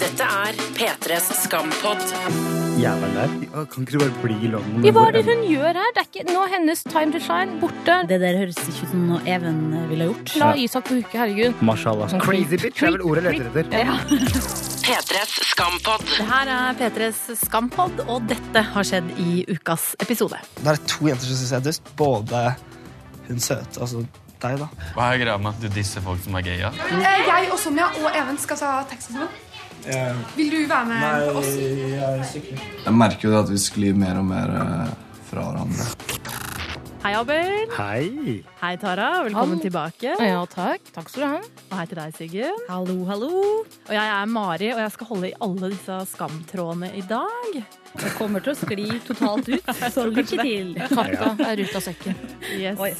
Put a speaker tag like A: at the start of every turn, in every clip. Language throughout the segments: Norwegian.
A: Dette er P3s skampott.
B: Jævelen der. Ja, Kan ikke du bare bli i London?
C: Ja, Hva
B: hvor
C: er det
B: enn-
C: hun gjør her? Det er ikke, nå er hennes time to shine borte.
D: Det der høres ikke ut som noe Even ville ha gjort.
C: La Isak få huke, herregud.
B: Mashallah. Crazy bitch er vel ordet jeg leter etter.
C: Ja.
A: P3s skampott.
D: Det her er P3s Skampod, og dette har skjedd i ukas episode.
E: Da er det to jenter som syns jeg er dust. Både hun søte, altså deg, da.
F: Hva er greia med at du disser folk som er gay? Ja?
G: Eh, Jeg og Sonja og Even skal ta taxi sammen. Vil du være med oss?
H: Jeg merker jo at vi sklir mer og mer eh, fra hverandre.
D: Hei, Abel.
B: Hei.
D: Hei, Tara. Velkommen
C: Hallo.
D: tilbake.
C: ja, takk. Takk skal du ha.
D: Og hei til deg, Siggen. Hallo, hallo. Og jeg er Mari, og jeg skal holde i alle disse skamtrådene i dag.
I: Det kommer til å skli totalt ut, så lykke til.
C: Karta er ute av sekken.
D: Yes.
I: Oi.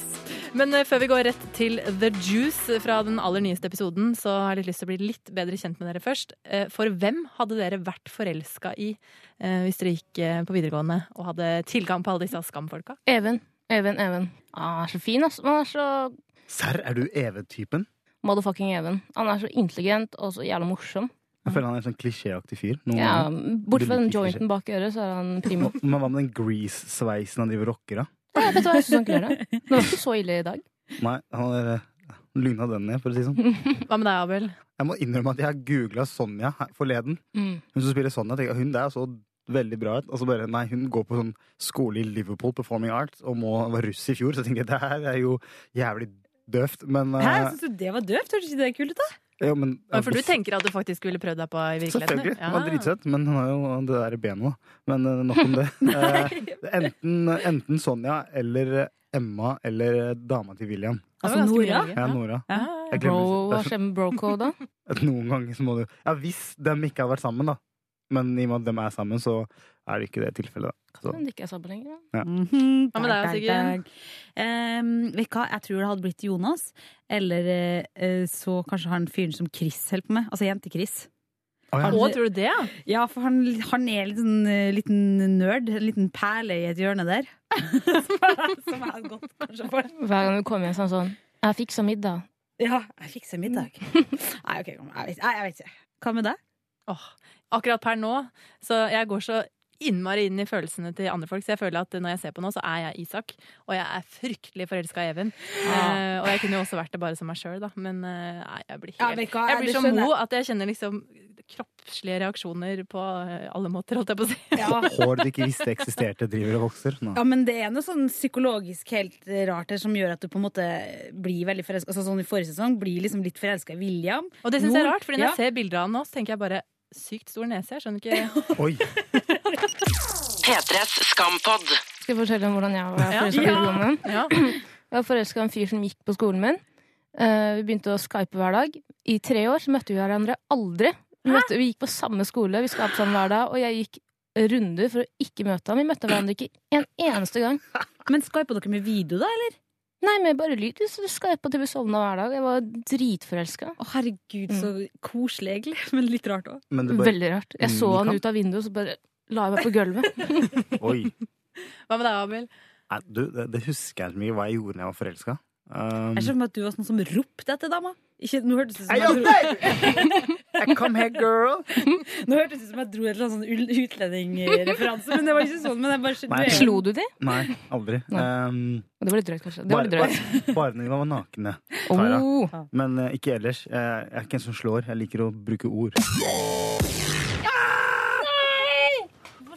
D: Men eh, før vi går rett til The Juice fra den aller nyeste episoden, så har jeg litt lyst til å bli litt bedre kjent med dere først. Eh, For hvem hadde dere vært forelska i eh, hvis dere gikk eh, på videregående og hadde tilgang på alle disse skamfolka?
C: Even, Even, Even. Ah, han er så fin, ass. Han er så
B: Serr, er du EV-typen?
C: motherfucking Even. Han er så intelligent og så jævla morsom.
B: Jeg føler han er en sånn klisjéaktig fyr. Noen
C: Ja,
B: ganger.
C: Bortsett fra
B: Vil
C: den
B: ikke
C: jointen bak øret, så er han primo.
B: Men hva med den grease-sveisen han driver og rocker av?
C: Ja, vet du hva, jeg syns han kler det. Det var ikke så ille i dag.
B: Nei, han er eh, lugna den ned, for å si det sånn.
D: Hva med deg, Abel?
B: Jeg må innrømme at jeg googla Sonja her forleden.
C: Mm.
B: Hun som spiller Sonja, tenker jeg, hun der så veldig bra ut. Og så bare, nei, hun går på sånn skole i Liverpool, Performing Arts, og må, var russ i fjor, så tenkte jeg det her er jo jævlig døvt. Men,
I: Hæ,
B: eh,
I: syns du det var døvt? Hørtes ikke det kult ut, da?
B: jo, men
D: Ja, For du tenker at du faktisk ville prøvd deg på i virkeligheten?
B: Selvfølgelig.
D: Ja.
B: Hun er dritsøt, men hun har jo det der benet, da. Men eh, nok om det. Eh, enten, enten Sonja eller Emma eller dama til William.
D: Det var
I: Altså,
D: ganske mye
I: Nora?
D: å velge.
B: Ja, Nora.
D: Ja.
B: Jeg
C: Bro,
B: glemmer
C: hva
B: det.
C: skjer med brocode, da?
B: At Noen ganger så må du Ja, hvis dem ikke hadde vært sammen, da. Men i og med at dem er sammen, så er det ikke det tilfellet, da. Så.
C: Men det ikke er sammen lenger. da.
I: Mhm,
D: Hva med deg,
I: dag,
D: Sigrid?
I: dag. Ehm, vet du hva, jeg tror det hadde blitt Jonas. Eller eh, eh, så kanskje han fyren som Chris holder på med. Altså jente-Chris.
B: Å, ja.
D: Å, tror du det? ja?
I: Ja, for han, han er en liten, eh, liten nerd. En liten perle i et hjørne der. som er- som er godt, kanskje, for
C: Hver gang du kommer hjem, så er han sånn Jeg fiksa middag.
I: Ja, jeg fikser middag. Nei, ok, kom, jeg vet, nei, jeg vet ikke. Hva med deg?
D: Åh, akkurat per nå, så jeg går så innmari inn i følelsene til andre folk, så jeg føler at når jeg ser på nå, så er jeg Isak, og jeg er fryktelig forelska i Even. Eh, og jeg kunne jo også vært det bare som meg sjøl, da, men eh, nei, jeg blir helt Jeg blir så mo at jeg kjenner liksom kroppslige reaksjoner på eh, alle måter, holdt jeg på å si.
I: Ja.
B: Hår du ikke visste eksisterte, driver og vokser. Nå.
I: Ja, men det er noe sånn psykologisk helt rart her som gjør at du på en måte blir veldig forelska. Altså, sånn i forrige sesong blir liksom litt forelska i William.
D: Og det syns jeg er
I: Nord-
D: rart, fordi når
I: Ja.
D: jeg ser bilder av han nå, så tenker jeg bare Sykt stor nese, jeg skjønner ikke
B: Oi!
A: P3s skampott.
C: Skal jeg fortelle om hvordan jeg var
D: Ja.
C: forelska i
D: Ja.
C: videregående?
D: ja.
C: Jeg var forelska i en fyr som gikk på skolen min. Eh, vi begynte å skype hver dag. I tre år så møtte vi hverandre aldri. Vi, møtte, vi gikk på samme skole, vi skapte sammen hver dag, og jeg gikk runder for å ikke møte ham. Vi møtte hverandre ikke en eneste gang.
I: Men skypa dere med video, da? Eller?
C: Nei, med bare lyd. Vi skypa til vi sovna hver dag. Jeg var dritforelska.
I: Å, herregud, så koselig, egentlig. Men litt rart òg.
B: Men det bare
C: Veldig rart. Jeg så han ut av vinduet, så bare la jeg meg på gulvet.
B: Oi!
D: Hva med deg, Abel?
B: Nei, du, det, det husker jeg så mye hva jeg gjorde da jeg var forelska. Um,
I: Jeg ser for meg at du var sånn som ropte etter dama. Ikke, nå hørtes det ut som
B: Hey,
I: jeg
B: yo,
I: dro,
B: hey! Come here, girl!
I: nå hørtes det ut som jeg dro et eller annet sånn ul- utlendingreferanse, men det var ikke sånn. Men jeg bare
B: Nei.
I: du er-
C: Slo du de?
B: Nei, aldri.
C: Nei.
B: Um,
C: Det var litt drøyt, kanskje. Det var
B: bare,
C: litt drøyt.
B: bare, bare når vi var nakne. Tara.
C: Oh.
B: Men eh, ikke ellers. Eh, jeg er ikke en som slår. Jeg liker å bruke ord.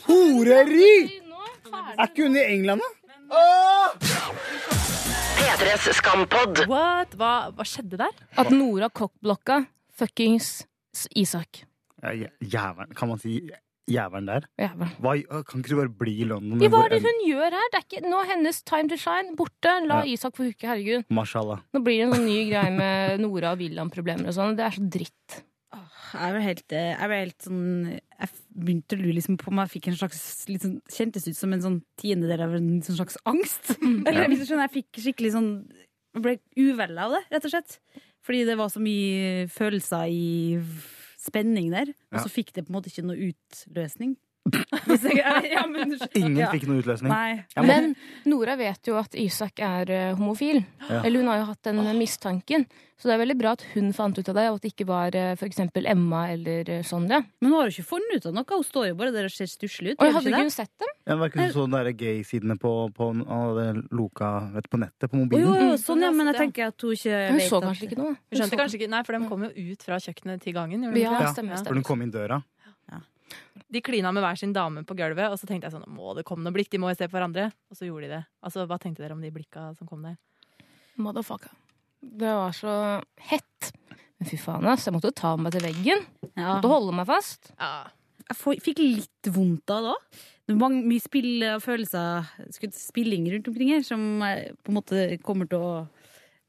B: Horeri! Er ikke hun i England, da?
A: P3s skampott.
D: What? Hva, hva skjedde der?
C: At Nora cockblocka fuckings Isak.
B: Ja, jæ- Jævelen. Kan man si jævelen der?
C: Jævla.
B: Hva, øh, kan ikke du bare bli i London?
C: Ja, hva
B: hvor
C: er det
B: enn-
C: hun gjør her? Det er ikke, nå er hennes time to shine borte. La
B: Ja.
C: Isak få huke, herregud.
B: Mashallah.
C: Nå blir det en sånn ny greie med Nora og William-problemer og sånn. Det er så dritt.
I: Åh, Jeg ble helt, eh, jeg ble helt sånn Jeg f- begynte å lure liksom på om jeg fikk en slags litt sånn, Kjentes ut som en sånn tiendedel av en sånn slags angst. Eller hvis du skjønner, jeg fikk skikkelig sånn Jeg ble uvel av det, rett og slett. Fordi det var så mye følelser i v- spenning der. Og
B: Ja.
I: så fikk det på en måte ikke noe utløsning. Hvis jeg- Ja, men,
B: Ingen
I: ja.
B: fikk noen utløsning.
I: Nei.
B: Jeg må-
C: Men Nora vet jo at Isak er eh, homofil.
B: Ja.
C: Eller hun har jo hatt den eh, mistanken. Så det er veldig bra at hun fant ut av det, og at det ikke var eh, for eksempel Emma eller eh, Sonja.
I: Men hun har jo ikke funnet ut av noe. Hun står jo bare der og ser stusslig ut.
C: Og jeg
I: gjør hun
C: hadde
I: ikke
C: ikke
I: det?
C: hun sett dem.
B: Jeg var ikke sånn der gay-sidene på, på, av det loka, vet, du, på nettet, på
I: Å, jo,
B: mobilen.
I: jo, sånn, ja, men jeg tenker at hun ikke
C: Hun
I: vet
C: så
I: at-
C: kanskje ikke noe.
D: Vi skjønte kanskje ikke, nei, For de kom jo ut fra kjøkkenet til gangen. gjorde de
C: Ja,
D: ikke det?
C: stemmer,
B: For
C: stemmer.
B: den kom inn døra.
D: De klina med hver sin dame på gulvet, og så tenkte jeg sånn Må det komme noen blikk? De må jo se på hverandre. Og så gjorde de det. Altså, Hva tenkte dere om de blikka som kom der?
C: Motherfucker. Det var så hett. Men fy faen, ass. Jeg måtte jo ta meg til veggen.
I: Ja.
C: Måtte holde meg fast.
D: Ja,
I: Jeg får- fikk litt vondt av det òg. Det er mange, mye spill og følelser, skudd- spilling rundt omkring her, som eh, på en måte kommer til å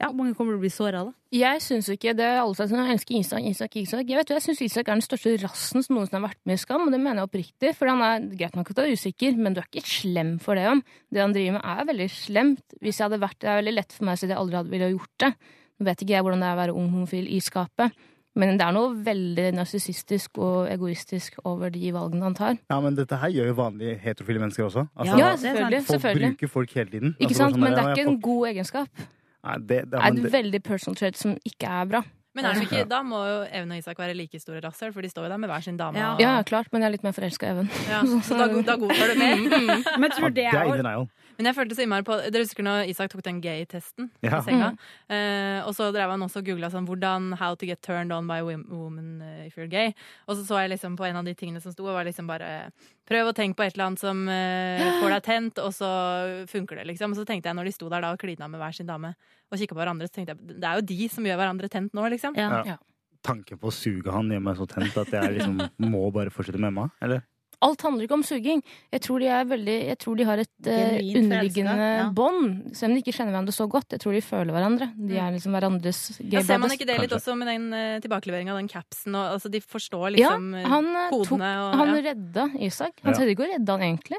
I: Ja, mange kommer til å bli såra av det.
C: Jeg syns ikke det er alle som sier, «Jeg elsker Isak, Isak, Isak. Jeg vet jo, jeg syns Isak er den største rassen som noensinne har vært med i Skam, og det mener jeg oppriktig. For han er greit nok at du er usikker, men du er ikke slem for det. Om. Det han driver med, er veldig slemt. Hvis jeg hadde vært, Det er veldig lett for meg å si at jeg aldri hadde ville gjort det. Nå vet ikke jeg hvordan det er å være ung homofil i skapet, men det er noe veldig narsissistisk og egoistisk over de valgene han tar.
B: Ja, men dette her gjør jo vanlige heterofile mennesker også. Altså,
C: Ja,
I: det er
C: selvfølgelig.
B: folk
C: selvfølgelig.
B: bruker folk hele tiden.
C: Ikke
B: Altså,
C: sant?
B: sånn
C: Men det
B: der, ja,
C: er ikke
B: folk-
C: en god egenskap.
B: Nei, det, det,
C: Det
B: ja,
C: er
B: men
C: en
B: det,
C: veldig personal trait som ikke er bra.
D: Men er de ikke, da må jo Even og Isak være like store rasshøl, for de står jo der med hver sin dame.
I: Ja.
D: og-
C: Ja, klart, men jeg er litt mer forelska i Even.
D: Ja, så da, da godtar du med.
I: Men jeg tror det
B: ja, det er in
I: er
B: denial.
D: Men jeg følte så innmari på Dere husker når Isak tok den gay-testen
B: Ja.
D: i senga?
C: Mm.
D: Eh, og så drev han også og googla sånn hvordan How to get turned on by a wom- woman eh, if you're gay. Og så så jeg liksom på en av de tingene som sto, og var liksom bare Prøv å tenke på et eller annet som eh, får deg tent, og så funker det, liksom. Og så tenkte jeg, når de sto der da og klina med hver sin dame og kikka på hverandre, så tenkte jeg det er jo de som gjør hverandre tent nå, liksom.
I: ja.
B: Ja. Tanken på å suge han gjør meg så tent at jeg liksom må bare fortsette med Emma. Eller?
C: Alt handler ikke om suging. Jeg tror de, er veldig, jeg tror de har et eh,
I: Genuint
C: underliggende
I: forelska, ja.
C: bånd. Selv om de ikke kjenner hverandre så godt. Jeg tror de føler hverandre. De er liksom hverandres
D: Ja,
C: gay
D: ser man
C: buddies.
D: ikke det litt
B: Kanskje.
D: også med den uh, tilbakeleveringa, den capsen og altså, De
C: Ja,
D: forstår liksom eh,
C: han eh, tok
D: kodene og
C: Han
D: ja.
C: redda Isak. Han
B: Ja.
C: trodde ikke å redde han egentlig.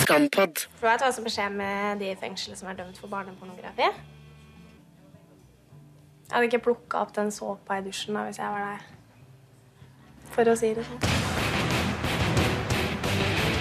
A: Skampod.
J: For jeg tar også beskjed med de i fengselet som er dømt for barnepornografi. Jeg hadde ikke plukka opp den såpa i dusjen da, hvis jeg var deg. For å si det sånn.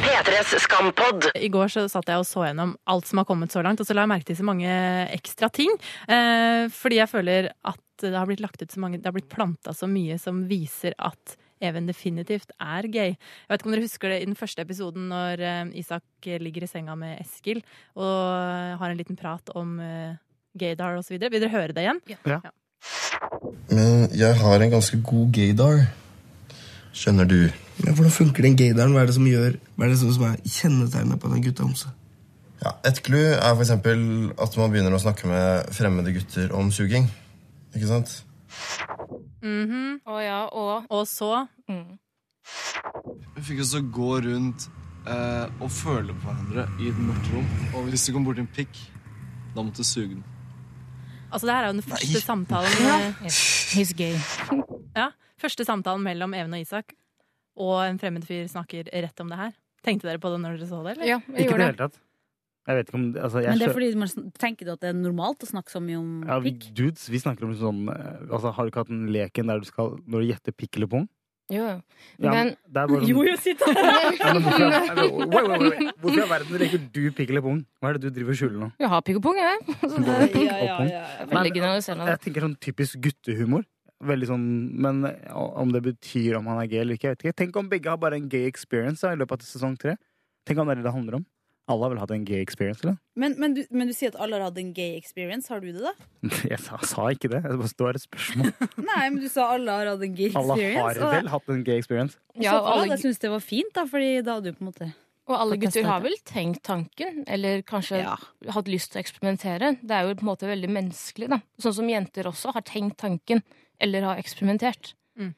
A: P3s Skampod.
D: I går så satt jeg og så gjennom alt som har kommet så langt, og så la jeg merke til så mange ekstra ting. Eh, fordi jeg føler at det har blitt lagt ut så mange Det har blitt planta så mye som viser at Even definitivt er gay. Jeg vet ikke om dere husker det i den første episoden når eh, Isak ligger i senga med Eskil og har en liten prat om eh, gaydar og så videre. Vil dere høre det igjen?
H: Men jeg har en ganske god gaydar. Skjønner du? Ja, Hvordan funker den gaydaren? Hva er det som gjør Hva er det som som er kjennetegnet på den gutteomsen? Ja, et clou er f.eks. at man begynner å snakke med fremmede gutter om suging. Ikke sant?
D: Mhm.
C: Å ja, og
D: Og så
C: Mm.
H: Vi fikk oss å gå rundt eh, og føle på hverandre i et mørkt rom. Og hvis det kom borti en pikk, da måtte du suge den.
D: Altså, det her er jo den første samtalen
C: He's gay.
D: Ja, første samtalen mellom Even og Isak og en fremmed fyr snakker rett om det her. Tenkte dere på det når dere så det? eller?
C: Ja, jeg
B: Ikke på det
C: gjorde det.
B: hele tatt. Jeg vet ikke om altså, jeg
I: Men det er
B: skjø-
I: fordi man sn- tenker du at det er normalt å snakke så mye om
B: ja, vi,
I: pikk?
B: Dudes, vi snakker om sånn eh, altså, Har du ikke hatt den leken der du skal Når du gjetter pikk eller pung?
C: Jo, jo.
B: Ja,
C: Men-
B: det er bare sånn-
I: sitt
B: Ja, men hvorfor, er- Wait, wait, wait, wait. hvorfor i all verden leker du pikk eller pung? Hva er det du driver og skjuler nå?
C: Jeg har pikk og pung, jeg. Så det er
B: Pikk og pung?
C: veldig generaliserende.
B: Jeg tenker sånn typisk guttehumor. Veldig sånn, Men om det betyr om han er gay eller ikke, jeg vet ikke. Tenk om begge har bare en gay experience da, i løpet av sesong tre. Tenk om det er det det handler om. Alle har vel hatt en gay experience, eller?
I: Men, men, du, men du sier at alle har hatt en gay experience. Har du det, da?
B: Jeg sa, sa ikke det. Det bare- det var et spørsmål.
I: Nei, men du sa alle har hatt en gay
B: Alle har
I: experience.
B: vel hatt en gay experience.
C: Ja, og alle-
I: jeg syns det var fint, da, Fordi da hadde du på en måte
C: Og alle
I: Få testet
C: gutter har
I: det.
C: vel tenkt tanken, eller kanskje
I: Ja.
C: hatt lyst til å eksperimentere. Det er jo på en måte veldig menneskelig, da. Sånn som jenter også har tenkt tanken, eller har eksperimentert.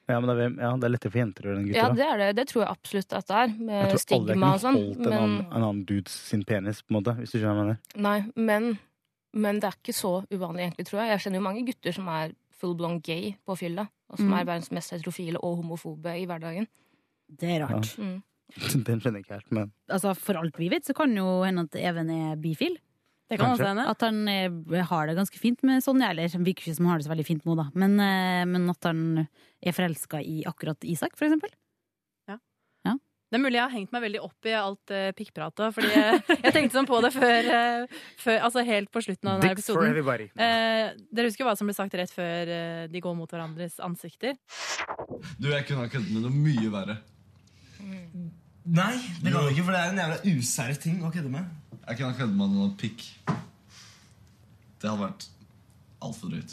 B: Ja, men det er, hvem- ja, det er lettere for jenter å gjøre det enn gutter.
C: Ja,
B: da.
C: det er det. Det tror jeg absolutt at det er, med
B: Jeg tror alle
C: stigma
B: kunne
C: og sånn.
B: holdt en,
C: Men,
B: annen, en annen dudes sin penis, på en måte, hvis du skjønner hva jeg mener.
C: nei, men, men det er ikke så uvanlig, egentlig, tror jeg. Jeg kjenner jo mange gutter som er full-blown gay på fylla, og som
I: Mm.
C: er verdens mest heterofile og homofobe i hverdagen.
I: Det er rart.
C: Mm.
B: Den skjønner jeg ikke helt, men
I: Altså, For alt vi vet, så kan jo hende at Even er bifil.
D: Det kan
B: Kanskje.
D: også hende.
I: At han eh, har det ganske fint med Sonja, eller han virker ikke som han har det så veldig fint nå, da. Men, eh, men at han er forelska i akkurat Isak, for eksempel.
D: Det er mulig jeg har hengt meg veldig opp i alt uh, pikkpratet. Fordi jeg, jeg tenkte sånn på det før, eh, før Altså helt på slutten av denne
B: Dicks for
D: episoden.
B: everybody.
D: Eh, dere husker hva som ble sagt rett før eh, de går mot hverandres ansikter?
K: Du, jeg kunne ha køddet med noe mye verre.
E: Nei, det kan du ikke, for det er en jævla useriøs ting å kødde med.
K: Jeg kunne ha køddet med noe pikk. Det hadde vært altfor drøyt.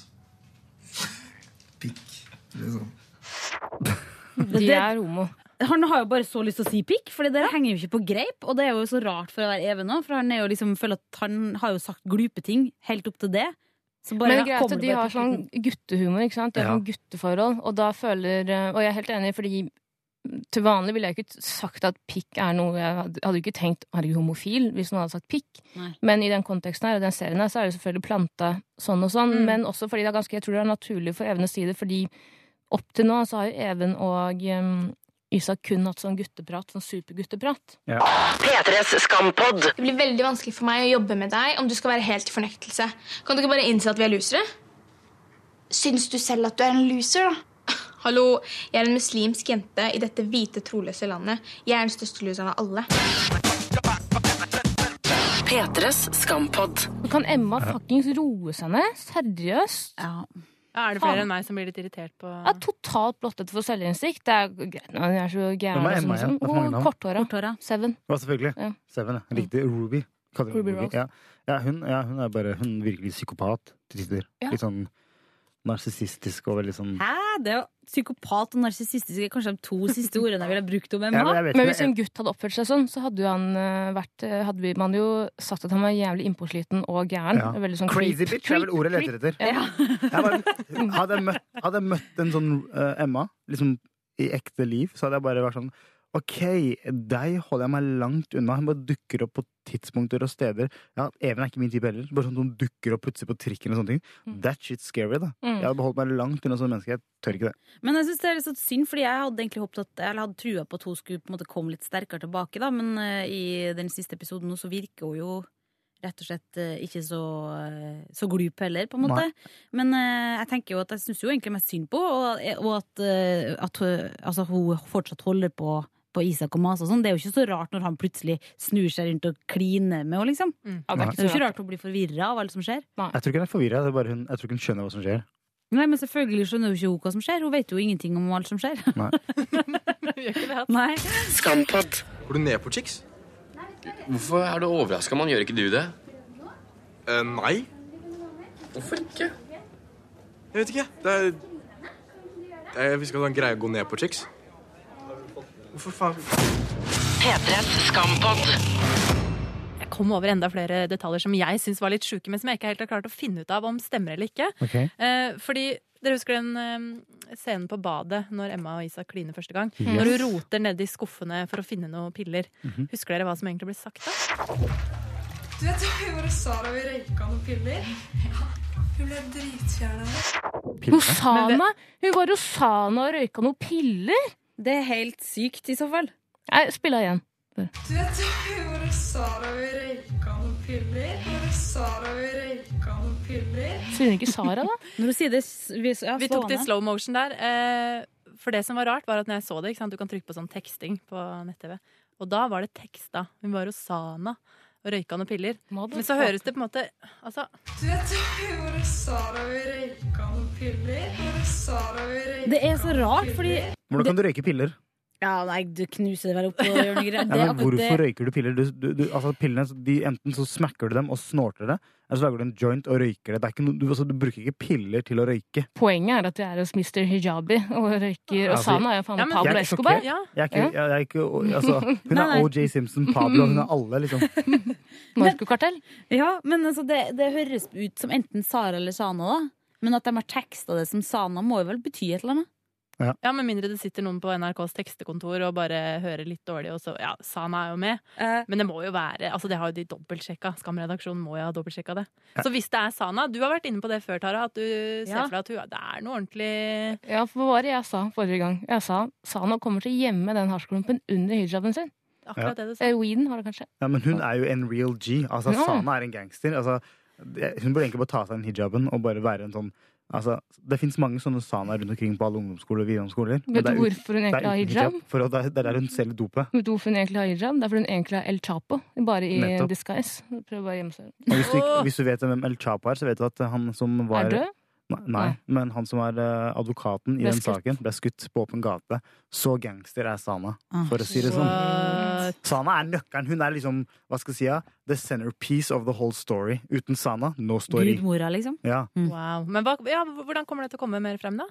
K: Pikk. Liksom.
C: De er homo.
I: Han har jo bare så lyst til å si pikk, for det der henger jo ikke på greip. Og det er jo så rart for å være Even òg, for han er jo liksom, føler at han har jo sagt glupe ting helt opp til det. Så bare
C: Men greit
I: kommer
C: at
I: det
C: de
I: bare
C: har
I: på
C: sånn
I: slutten.
C: guttehumor, ikke sant? Det er
I: Ja.
C: sånn gutteforhold, og da føler eh, Og jeg er helt enig, fordi til vanlig ville jeg ikke sagt at pikk er noe Jeg hadde hadde jo ikke tenkt er du homofil hvis noen hadde sagt pikk.
I: Nei.
C: Men i den konteksten her og den serien her, så er det selvfølgelig planta sånn og
I: Mm.
C: sånn. Men også fordi det er ganske Jeg tror det er naturlig for Even å si det, fordi opp til nå så har jo Even og eh, Isak kun hatt sånn gutteprat, sånn supergutteprat.
A: P3s skampod.
J: Det blir veldig vanskelig for meg å jobbe med deg om du skal være helt i fornektelse. Kan du ikke bare innse at vi er losere? Syns du selv at du er en loser, da? Hallo, jeg er en muslimsk jente i dette hvite, troløse landet. Jeg er den største loseren av alle.
A: P3s skampod.
C: Så kan Emma fuckings roe seg ned. Seriøst.
D: Ja, er det flere enn meg som blir litt irritert på
C: Ja, totalt blottet for selvinnsikt. Det er greit når hun er så gæren.
B: Hvem er Emma
C: og
B: igjen?
C: sånn,
B: Hva for navn?
C: sånn. Hun korthåra. Seven.
B: Ja, selvfølgelig.
C: Ja. Mm.
B: Seven, ja. Jeg likte Ruby. Kaller hun
C: Ruby
B: Ruby.
C: Rose.
B: Ja. Ja, hun, ja, hun er bare hun er virkelig psykopat til tider.
I: Ja.
B: Litt sånn narsissistisk og veldig sånn
I: Hæ? Det er jo psykopat og narsissistisk. er Kanskje de to siste ordene jeg ville brukt om
B: Ja,
I: Emma.
B: men jeg vet
C: Men
B: ikke,
C: hvis en gutt hadde oppført seg sånn, så hadde, jo han, eh, vært, eh, hadde vi- man jo sagt at han var jævlig innpåsliten og gæren.
B: Ja.
C: Veldig sånn
B: Crazy
C: creep.
B: bitch er vel ordet jeg
C: Creep.
B: leter etter.
C: Ja.
B: Hadde jeg møtt, hadde jeg møtt en sånn eh, Emma liksom, i ekte liv, så hadde jeg bare vært sånn Ok, deg holder jeg meg langt unna. Hun bare dukker opp på tidspunkter og steder. Ja, Even er ikke min type heller. Bare sånn at Hun dukker opp plutselig på trikken. og sånne ting
C: Mm.
B: That shit's scary, da.
I: Mm.
B: Jeg hadde beholdt meg langt unna sånne mennesker. Jeg tør ikke det.
I: Men jeg synes det er litt sånn synd, fordi jeg hadde egentlig håpet at Eller hadde trua på at hun skulle på en måte komme litt sterkere tilbake, da. Men eh, i den siste episoden nå så virker hun jo rett og slett eh, ikke så, eh, så glup heller, på en måte.
L: Nei.
I: Men eh, jeg tenker jo at jeg syns jo egentlig mest synd på henne, og, og at, eh, at hun- altså, hun fortsatt holder på på Isak og Mase og sånn. Det er jo ikke så rart når han plutselig snur seg rundt og kliner med henne, liksom.
B: Ja,
I: det,
B: det
I: er
B: er ikke så
I: jo ikke
B: rart.
I: rart hun blir forvirra av alt som skjer.
B: Jeg tror ikke hun er forvirra. det er bare hun- Jeg tror ikke hun skjønner hva som skjer.
I: Nei, men selvfølgelig skjønner jo ikke hun hva som skjer. Hun vet jo ingenting om alt som skjer.
B: Nei.
I: Nei.
A: Skampod.
M: Går du ned på chicks? Hvorfor er du overraska, mann? Gjør ikke du det? Eh, nei. Hvorfor ikke? Jeg vet ikke. Det er Eh, Jeg visste ikke at det var en greie å gå ned på chicks. Hvorfor faen?
A: P3s skampod.
D: Jeg kom over enda flere detaljer som jeg syns var litt sjuke, men som jeg ikke helt har klart å finne ut av om stemmer eller ikke.
L: Ok.
D: Eh, fordi dere husker den eh, scenen på badet når Emma og Isak kliner første gang?
L: Yes.
D: Når hun roter nedi skuffene for å finne noen piller.
L: Mhm.
D: Husker dere hva som egentlig ble sagt da?
G: Du vet hva vi gjorde Sara vi røyka noen piller? Hun ble dritfjern av det.
C: Hun sa meg Hun var hos Sana og røyka noen piller!
I: Det er helt sykt, i så fall.
C: Jeg spiller igjen.
G: Du vet hva vi gjorde Sara vi røyka noen piller? Gjorde Sara vi røyka noen piller?
C: Sier hun ikke Sara, da?
I: Når du sier det Vi,
D: Vi tok det i slow motion der. Eh, for det som var rart, var at når jeg så det, ikke sant? du kan trykke på sånn teksting på nett-TV, og da var det teksta. Hun var hos Sana og røyka noen piller. Men så høres det på en måte Altså
G: Du vet hva vi gjorde Sara vi røyka noen piller? Gjorde Sara vi røyka
I: Det er så rart, fordi
B: Hvordan kan du røyke piller?
I: Ja, nei, du knuser det vel opp og gjør noe
B: Ja,
I: greier. Det er
B: men
I: akkurat
B: hvorfor
I: det.
B: røyker du piller? Du, du, du, altså pillene, de, enten så smakker du dem og snorter det, eller så lager du en joint og røyker det. det er ikke noe, du, altså, du bruker ikke piller til å røyke.
C: Poenget er at vi er hos Mr. Hijabi og røyker, og
B: Altså,
C: Sana er jo faen meg Pablo
B: jeg er
C: Escobar.
B: sjokkert. Jeg er ikke, jeg, jeg er ikke altså, Hun
I: Nei,
B: er
I: nei.
B: OJ Simpson, Pablo, hun er alle, liksom.
C: Narkokartell.
I: Ja, men altså, det, det høres ut som enten Sara eller Sana, da. Men at de har teksta det som Sana, må jo vel bety et eller annet?
B: Ja.
D: Med mindre det sitter noen på NRKs tekstekontor og bare hører litt dårlig, og så Ja, Sana er jo med.
I: Eh,
D: Men det må jo være Altså, det har jo de dobbeltsjekka. Skamredaksjonen må jo ha dobbeltsjekka det. Så hvis det er Sana Du har vært inne på det før, Tara, at du ser
C: Ja.
D: for deg at hun Det er noe ordentlig
C: Ja, for hva var det jeg sa forrige gang? Jeg sa Sana kommer til å gjemme den hasjklumpen under hijaben sin.
B: Akkurat det
D: du
C: sa. Eh, weeden var det kanskje.
B: Ja, men hun er jo en real G. Altså,
C: Ja.
B: Sana er en gangster. Altså, det- hun burde egentlig bare ta av seg den hijaben og bare være en sånn Altså, det fins mange sånne sanaer rundt omkring på alle ungdomsskoler og videregående skoler. men
C: Vet
B: det er
C: du
B: ut-
C: hvorfor hun
B: det er
C: egentlig har
B: uten
C: hijab?
B: For at det er- det er der hun selger dopet.
C: Vet du hvorfor hun egentlig har hijab? Det er fordi hun egentlig er El Chapo, bare i
B: Nettopp.
C: disguise. Hun Prøver bare å gjemme seg.
B: Og hvis, du, ikke- hvis du vet hvem El Chapo er, så vet du at han som var
C: Er død?
B: Nei, nei, men han som er eh, advokaten i
C: Ble
B: den
C: skutt.
B: saken, ble skutt på åpen gate. Så gangster er Sana,
C: Ah.
B: for å si det sånn.
D: What?
B: Sana er nøkkelen. Hun er liksom hva skal jeg si, ja, the centerpiece of the whole story. Uten Sana, no story.
I: Gudmora, liksom.
B: Ja,
C: Mm.
D: Wow. Men hva, ja, hvordan kommer det til å komme mer frem, da?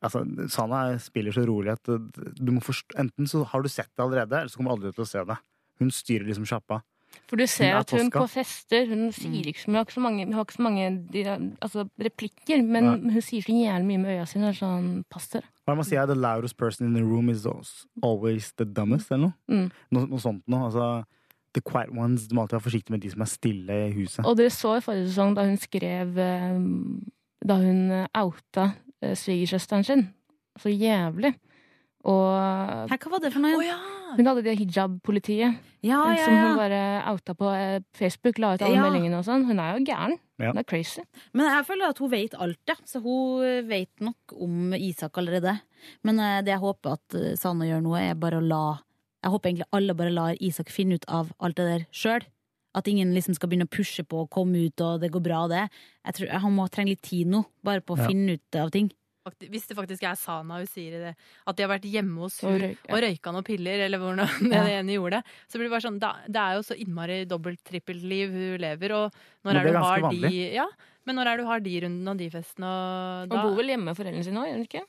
B: altså, Sana er- spiller så rolig at eh, du må forst enten så har du sett det allerede, eller så kommer du aldri til å se det. Hun styrer liksom sjappa.
C: For du ser
B: Hun er Mm.
C: at hun
B: Tosca.
C: på fester Hun sier ikke så mye, hun har ikke så mange, hun har ikke så mange de, altså, replikker, men
B: Nei.
C: hun sier så jævlig mye med øya sine. er Sånn, pass dere.
B: Hva er det man sier? The loudest person in the room is als- always the dumbest, eller noe?
C: Mm.
B: Noe, noe sånt noe. Altså, the quiet ones. Du må alltid være forsiktig med de som er stille i huset.
C: Og dere så i forrige sesong da hun skrev eh, Da hun outa eh, svigersøsteren sin så jævlig. Og
I: Hæ, hva var det for
C: Mm.
I: noe?
C: Hun hadde det hijab-politiet
D: Ah,
I: Ja,
C: eh,
I: ja,
C: som
I: ja.
C: hun bare outa på eh, Facebook. La ut alle
I: Ja.
C: meldingene og sånn. Hun er jo gæren.
B: Ja.
C: Det er crazy.
I: Men jeg føler at hun vet alt, ja. Så hun eh, vet nok om Isak allerede. Men eh, det jeg håper at eh, Sanne gjør nå, er bare å la Jeg håper egentlig alle bare lar Isak finne ut av alt det der sjøl. At ingen liksom skal begynne å pushe på og komme ut og det går bra, det. Jeg tror, Han må trenge litt tid nå, bare på å
D: Ja.
I: finne ut av ting.
D: Fakti- Hvis det faktisk er Sana hun sier i det, at de har vært hjemme hos hun
I: Og
D: og,
I: røyk-
D: røyka noen piller, eller hvordan det
I: Ja.
D: ene gjorde det, så blir det bare sånn da- Det er jo så innmari dobbelt-trippelt-liv hun lever, og
C: Men det er
D: når er du
C: ganske
D: har de
C: vanlig.
D: Ja, men når er du har de rundene og de festene og
C: Hun
D: da
C: bor vel hjemme med foreldrene sine òg, gjør hun ikke?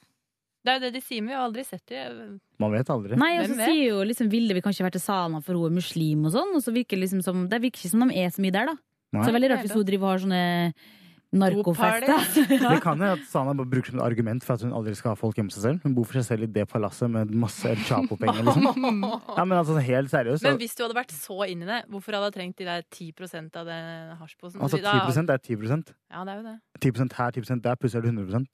D: Det er jo det de sier, men vi har aldri sett de.
B: Man vet aldri.
I: Nei, og så
D: Hvem vet?
I: sier jo liksom Vilde vi kan ikke være til Sana for hun er muslim og sånn. Og så virker det liksom som Det virker ikke som de er så mye der, da.
B: Nei.
I: Så det er veldig rart hvis hun driver og har sånne narkofester.
B: Det kan jo at Sana bare bruker som et argument for at hun aldri skal ha folk hjemme hos seg selv. Hun bor for seg selv i det palasset med masse El Chapo-penger. Liksom.
C: Mm.
B: Ja, men altså, helt seriøst.
D: Men hvis du hadde vært så inn i det, hvorfor hadde du trengt de der 10 av den hasjposen?
B: altså,
D: Da-
B: 10 er 10
D: Ja, det er jo det.
B: 10 her, 10 der, plutselig er det 100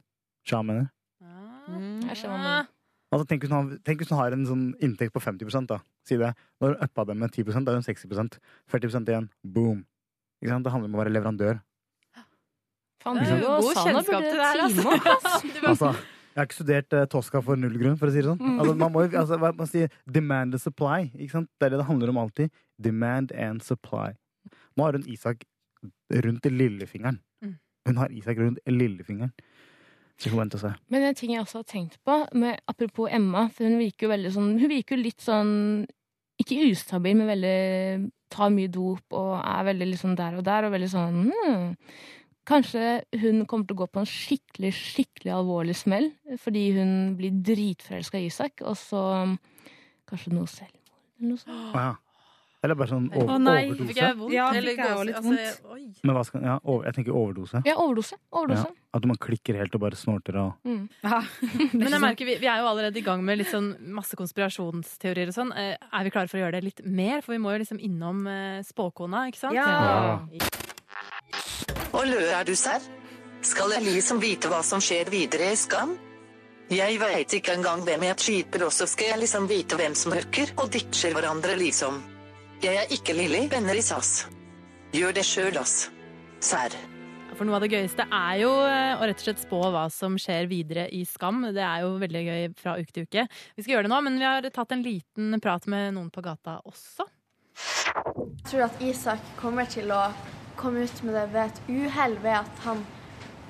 B: Sja mener.
D: Ah.
C: Mm.
D: Mm.
C: Jeg skjønner hva du mener.
B: Altså, tenk, hvis hun har, tenk hvis hun har en sånn inntekt på 50 da. Si det. Når hun uppa den med 10 da er hun 60 40 igjen. Boom. Ikke sant? Det handler om å være leverandør.
C: Faen,
B: Ikke sant?
C: du og
D: God
C: Sana
D: kjennskap
C: burde
D: til det her,
C: time
D: altså.
C: opp, ass.
B: Altså, jeg har ikke studert eh, Tosca for null grunn, for å si det sånn.
C: Mm.
B: Altså, man må jo altså, hva man sier, demand and supply. Ikke sant? Det er det det handler om alltid. Demand and supply. Nå har hun Isak rundt lillefingeren.
D: Mm.
B: Hun har Isak rundt lillefingeren. Så vi får vente og se.
C: Men en ting jeg også har tenkt på, med, apropos Emma, for hun virker jo veldig sånn Hun virker jo litt sånn Ikke ustabil, men veldig Tar mye dop og er veldig liksom der og der, og veldig sånn hmm. Kanskje hun kommer til å gå på en skikkelig, skikkelig alvorlig smell fordi hun blir dritforelska i Isak, og så hmm, kanskje noe selvmord eller noe sånt.
B: Å, ja. Eller bare sånn over, overdose.
D: Fikk jeg vondt?
C: Ja,
D: Eller
C: fikk jeg også
D: gåse-
C: litt
D: altså, oi.
B: Men hva skal, ja, over, jeg tenker overdose.
C: Ja, overdose. overdose. Hmm.
B: Ja, at man klikker helt og bare snorter og
D: Men jeg merker, vi, vi er jo allerede i gang med litt sånn masse konspirasjonsteorier og sånn. Eh, Er vi klare for å gjøre det litt mer? For vi må jo liksom innom eh, spåkona, ikke sant?
L: Ja.
N: Og lø er du serr? Skal jeg liksom vite hva som skjer videre i Skam? Jeg veit ikke engang hvem jeg cheater, og så skal jeg liksom vite hvem som hooker og ditcher hverandre, liksom. Jeg er ikke Lilly, venner i SAS. Gjør det sjøl, ass. Serr.
D: For noe av det gøyeste er jo eh, å rett og slett spå hva som skjer videre i Skam. Det er jo veldig gøy fra uke til uke. Vi skal gjøre det nå, men vi har tatt en liten prat med noen på gata også.
O: Jeg tror at Isak kommer til å komme ut med det ved et uhell, ved at han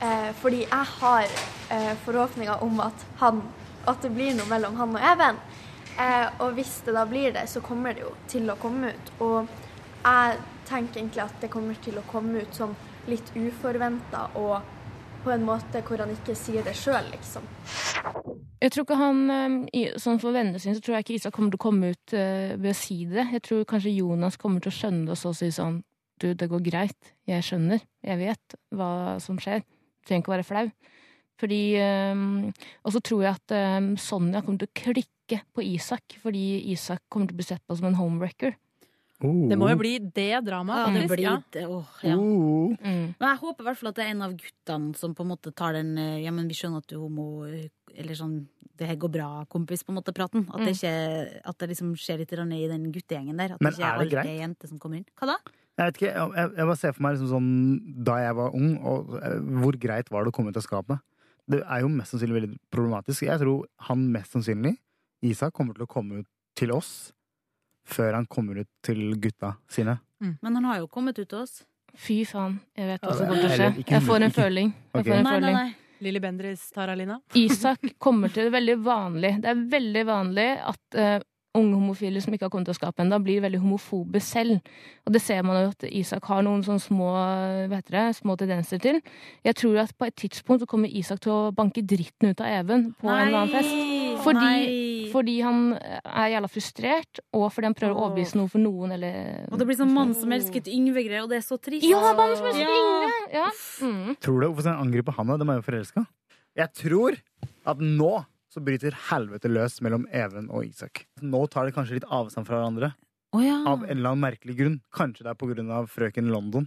O: eh, Fordi jeg har eh, forhåpninger om at, han, at det blir noe mellom han og Even. Eh, og hvis det da blir det, så kommer det jo til å komme ut. Og jeg tenker egentlig at det kommer til å komme ut som litt uforventa og på en måte hvor han ikke sier det sjøl, liksom.
C: Jeg tror ikke han, eh, i- sånn For vennene sine så tror jeg ikke Isak kommer til å komme ut eh, ved å si det. Jeg tror kanskje Jonas kommer til å skjønne det og så si sånn Du, det går greit. Jeg skjønner. Jeg vet hva som skjer. Du trenger ikke å være flau. Fordi eh, Og så tror jeg at eh, Sonja kommer til å klikke på Isak, fordi Isak kommer til å bli sett på som en homewrecker.
D: Det
B: Oh.
D: må jo bli det dramaet,
I: Ja, det
D: faktisk.
I: blir
D: ja.
I: det. Åh, ja. Men jeg håper i hvert fall at det er en av guttene som på en måte tar den eh, Ja, men vi skjønner at du er homo Eller sånn Det her går bra, kompis, på en måte, praten. At det, ikke, at det liksom skjer litt grann i den guttegjengen der. At
B: Men
I: det ikke
B: er det
I: alltid
B: greit?
I: er jenter som kommer inn. Hva da?
B: Jeg vet ikke, jeg, jeg bare ser for meg liksom sånn da jeg var ung, og eh, hvor greit var det å komme ut av skapet? Det er jo mest sannsynlig veldig problematisk. Jeg tror han mest sannsynlig, Isak, kommer til å komme ut til oss før han kommer ut til gutta sine.
I: Men han har jo kommet ut til oss.
C: Fy faen, jeg vet
B: hva som kommer til å skje. Eller ikke- Jeg får en ikke- føling. Jeg Ok. får en føling.
D: Lilly Bendriss, Tara Lina.
C: Isak kommer til det veldig vanlig. Det er veldig vanlig at eh, unge homofile som ikke har kommet til å skape ennå, blir veldig homofobe selv. Og det ser man jo at Isak har noen sånne små, eh, hva heter det, små tendenser til. Jeg tror at på et tidspunkt så kommer Isak til å banke dritten ut av Even på en eller annen fest. Fordi, fordi han eh, er jævla frustrert, og fordi han prøver å overbevise noe for noen, eller
I: Og det blir sånn mann som elsket Yngve-greier, og det er så trist.
C: Ja, mannen som elsket
I: Ja.
C: Yngve! Ja. Mm.
B: Tror du, Hvorfor skal han angripe han? da? De er jo forelska. Jeg tror at nå så bryter helvete løs mellom Even og Isak. Nå tar de kanskje litt avstand fra hverandre. Av en eller annen merkelig grunn. Kanskje det er på grunn av frøken London.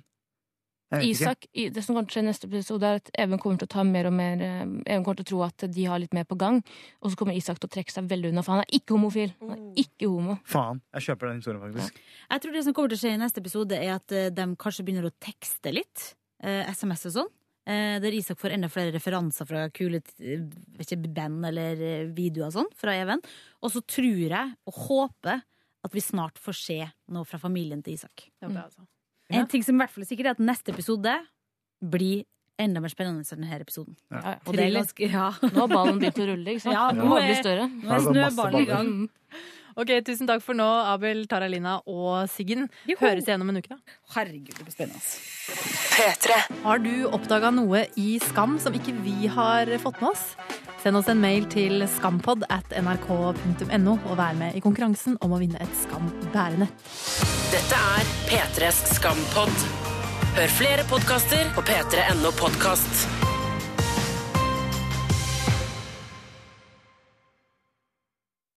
B: Jeg vet ikke.
C: Isak, i- det som kommer til å skje i neste episode, er at Even kommer til å ta mer og mer eh, Even kommer til å tro at de har litt mer på gang, og så kommer Isak til å trekke seg veldig unna, for han er ikke homofil. Han
I: Mm.
C: er ikke homo.
B: Faen, jeg kjøper den historien faktisk.
I: Jeg tror det som kommer til å skje i neste episode, er at eh, de kanskje begynner å tekste litt. Eh, SMS og sånn. Eh, der Isak får enda flere referanser fra kule eh, vet ikke, band eller eh, videoer og sånn fra Even. Og så tror jeg og håper at vi snart får se noe fra familien til Isak.
D: Mm.
I: En ting som i hvert fall er sikkert, er at neste episode blir enda mer spennende enn denne episoden.
C: Ja.
I: Og det er
C: Thriller.
I: ganske, ja.
C: Nå har ballen begynt å rulle, ikke sant?
I: Ja,
C: Nå
I: nå
C: blir det
I: er,
C: større.
I: nå er snøballen i gang.
D: Ok, Tusen takk for nå, Abel, Tara Lina og Siggen. Høres igjen om en uke, da.
I: Herregud, det blir spennende.
D: Har du oppdaga noe i Skam som ikke vi har fått med oss? Send oss en mail til skampod at nrk.no og vær med i konkurransen om å vinne et Skam bærenett.
A: Dette er P3s Skampod. Hør flere podkaster på p3.no podkast.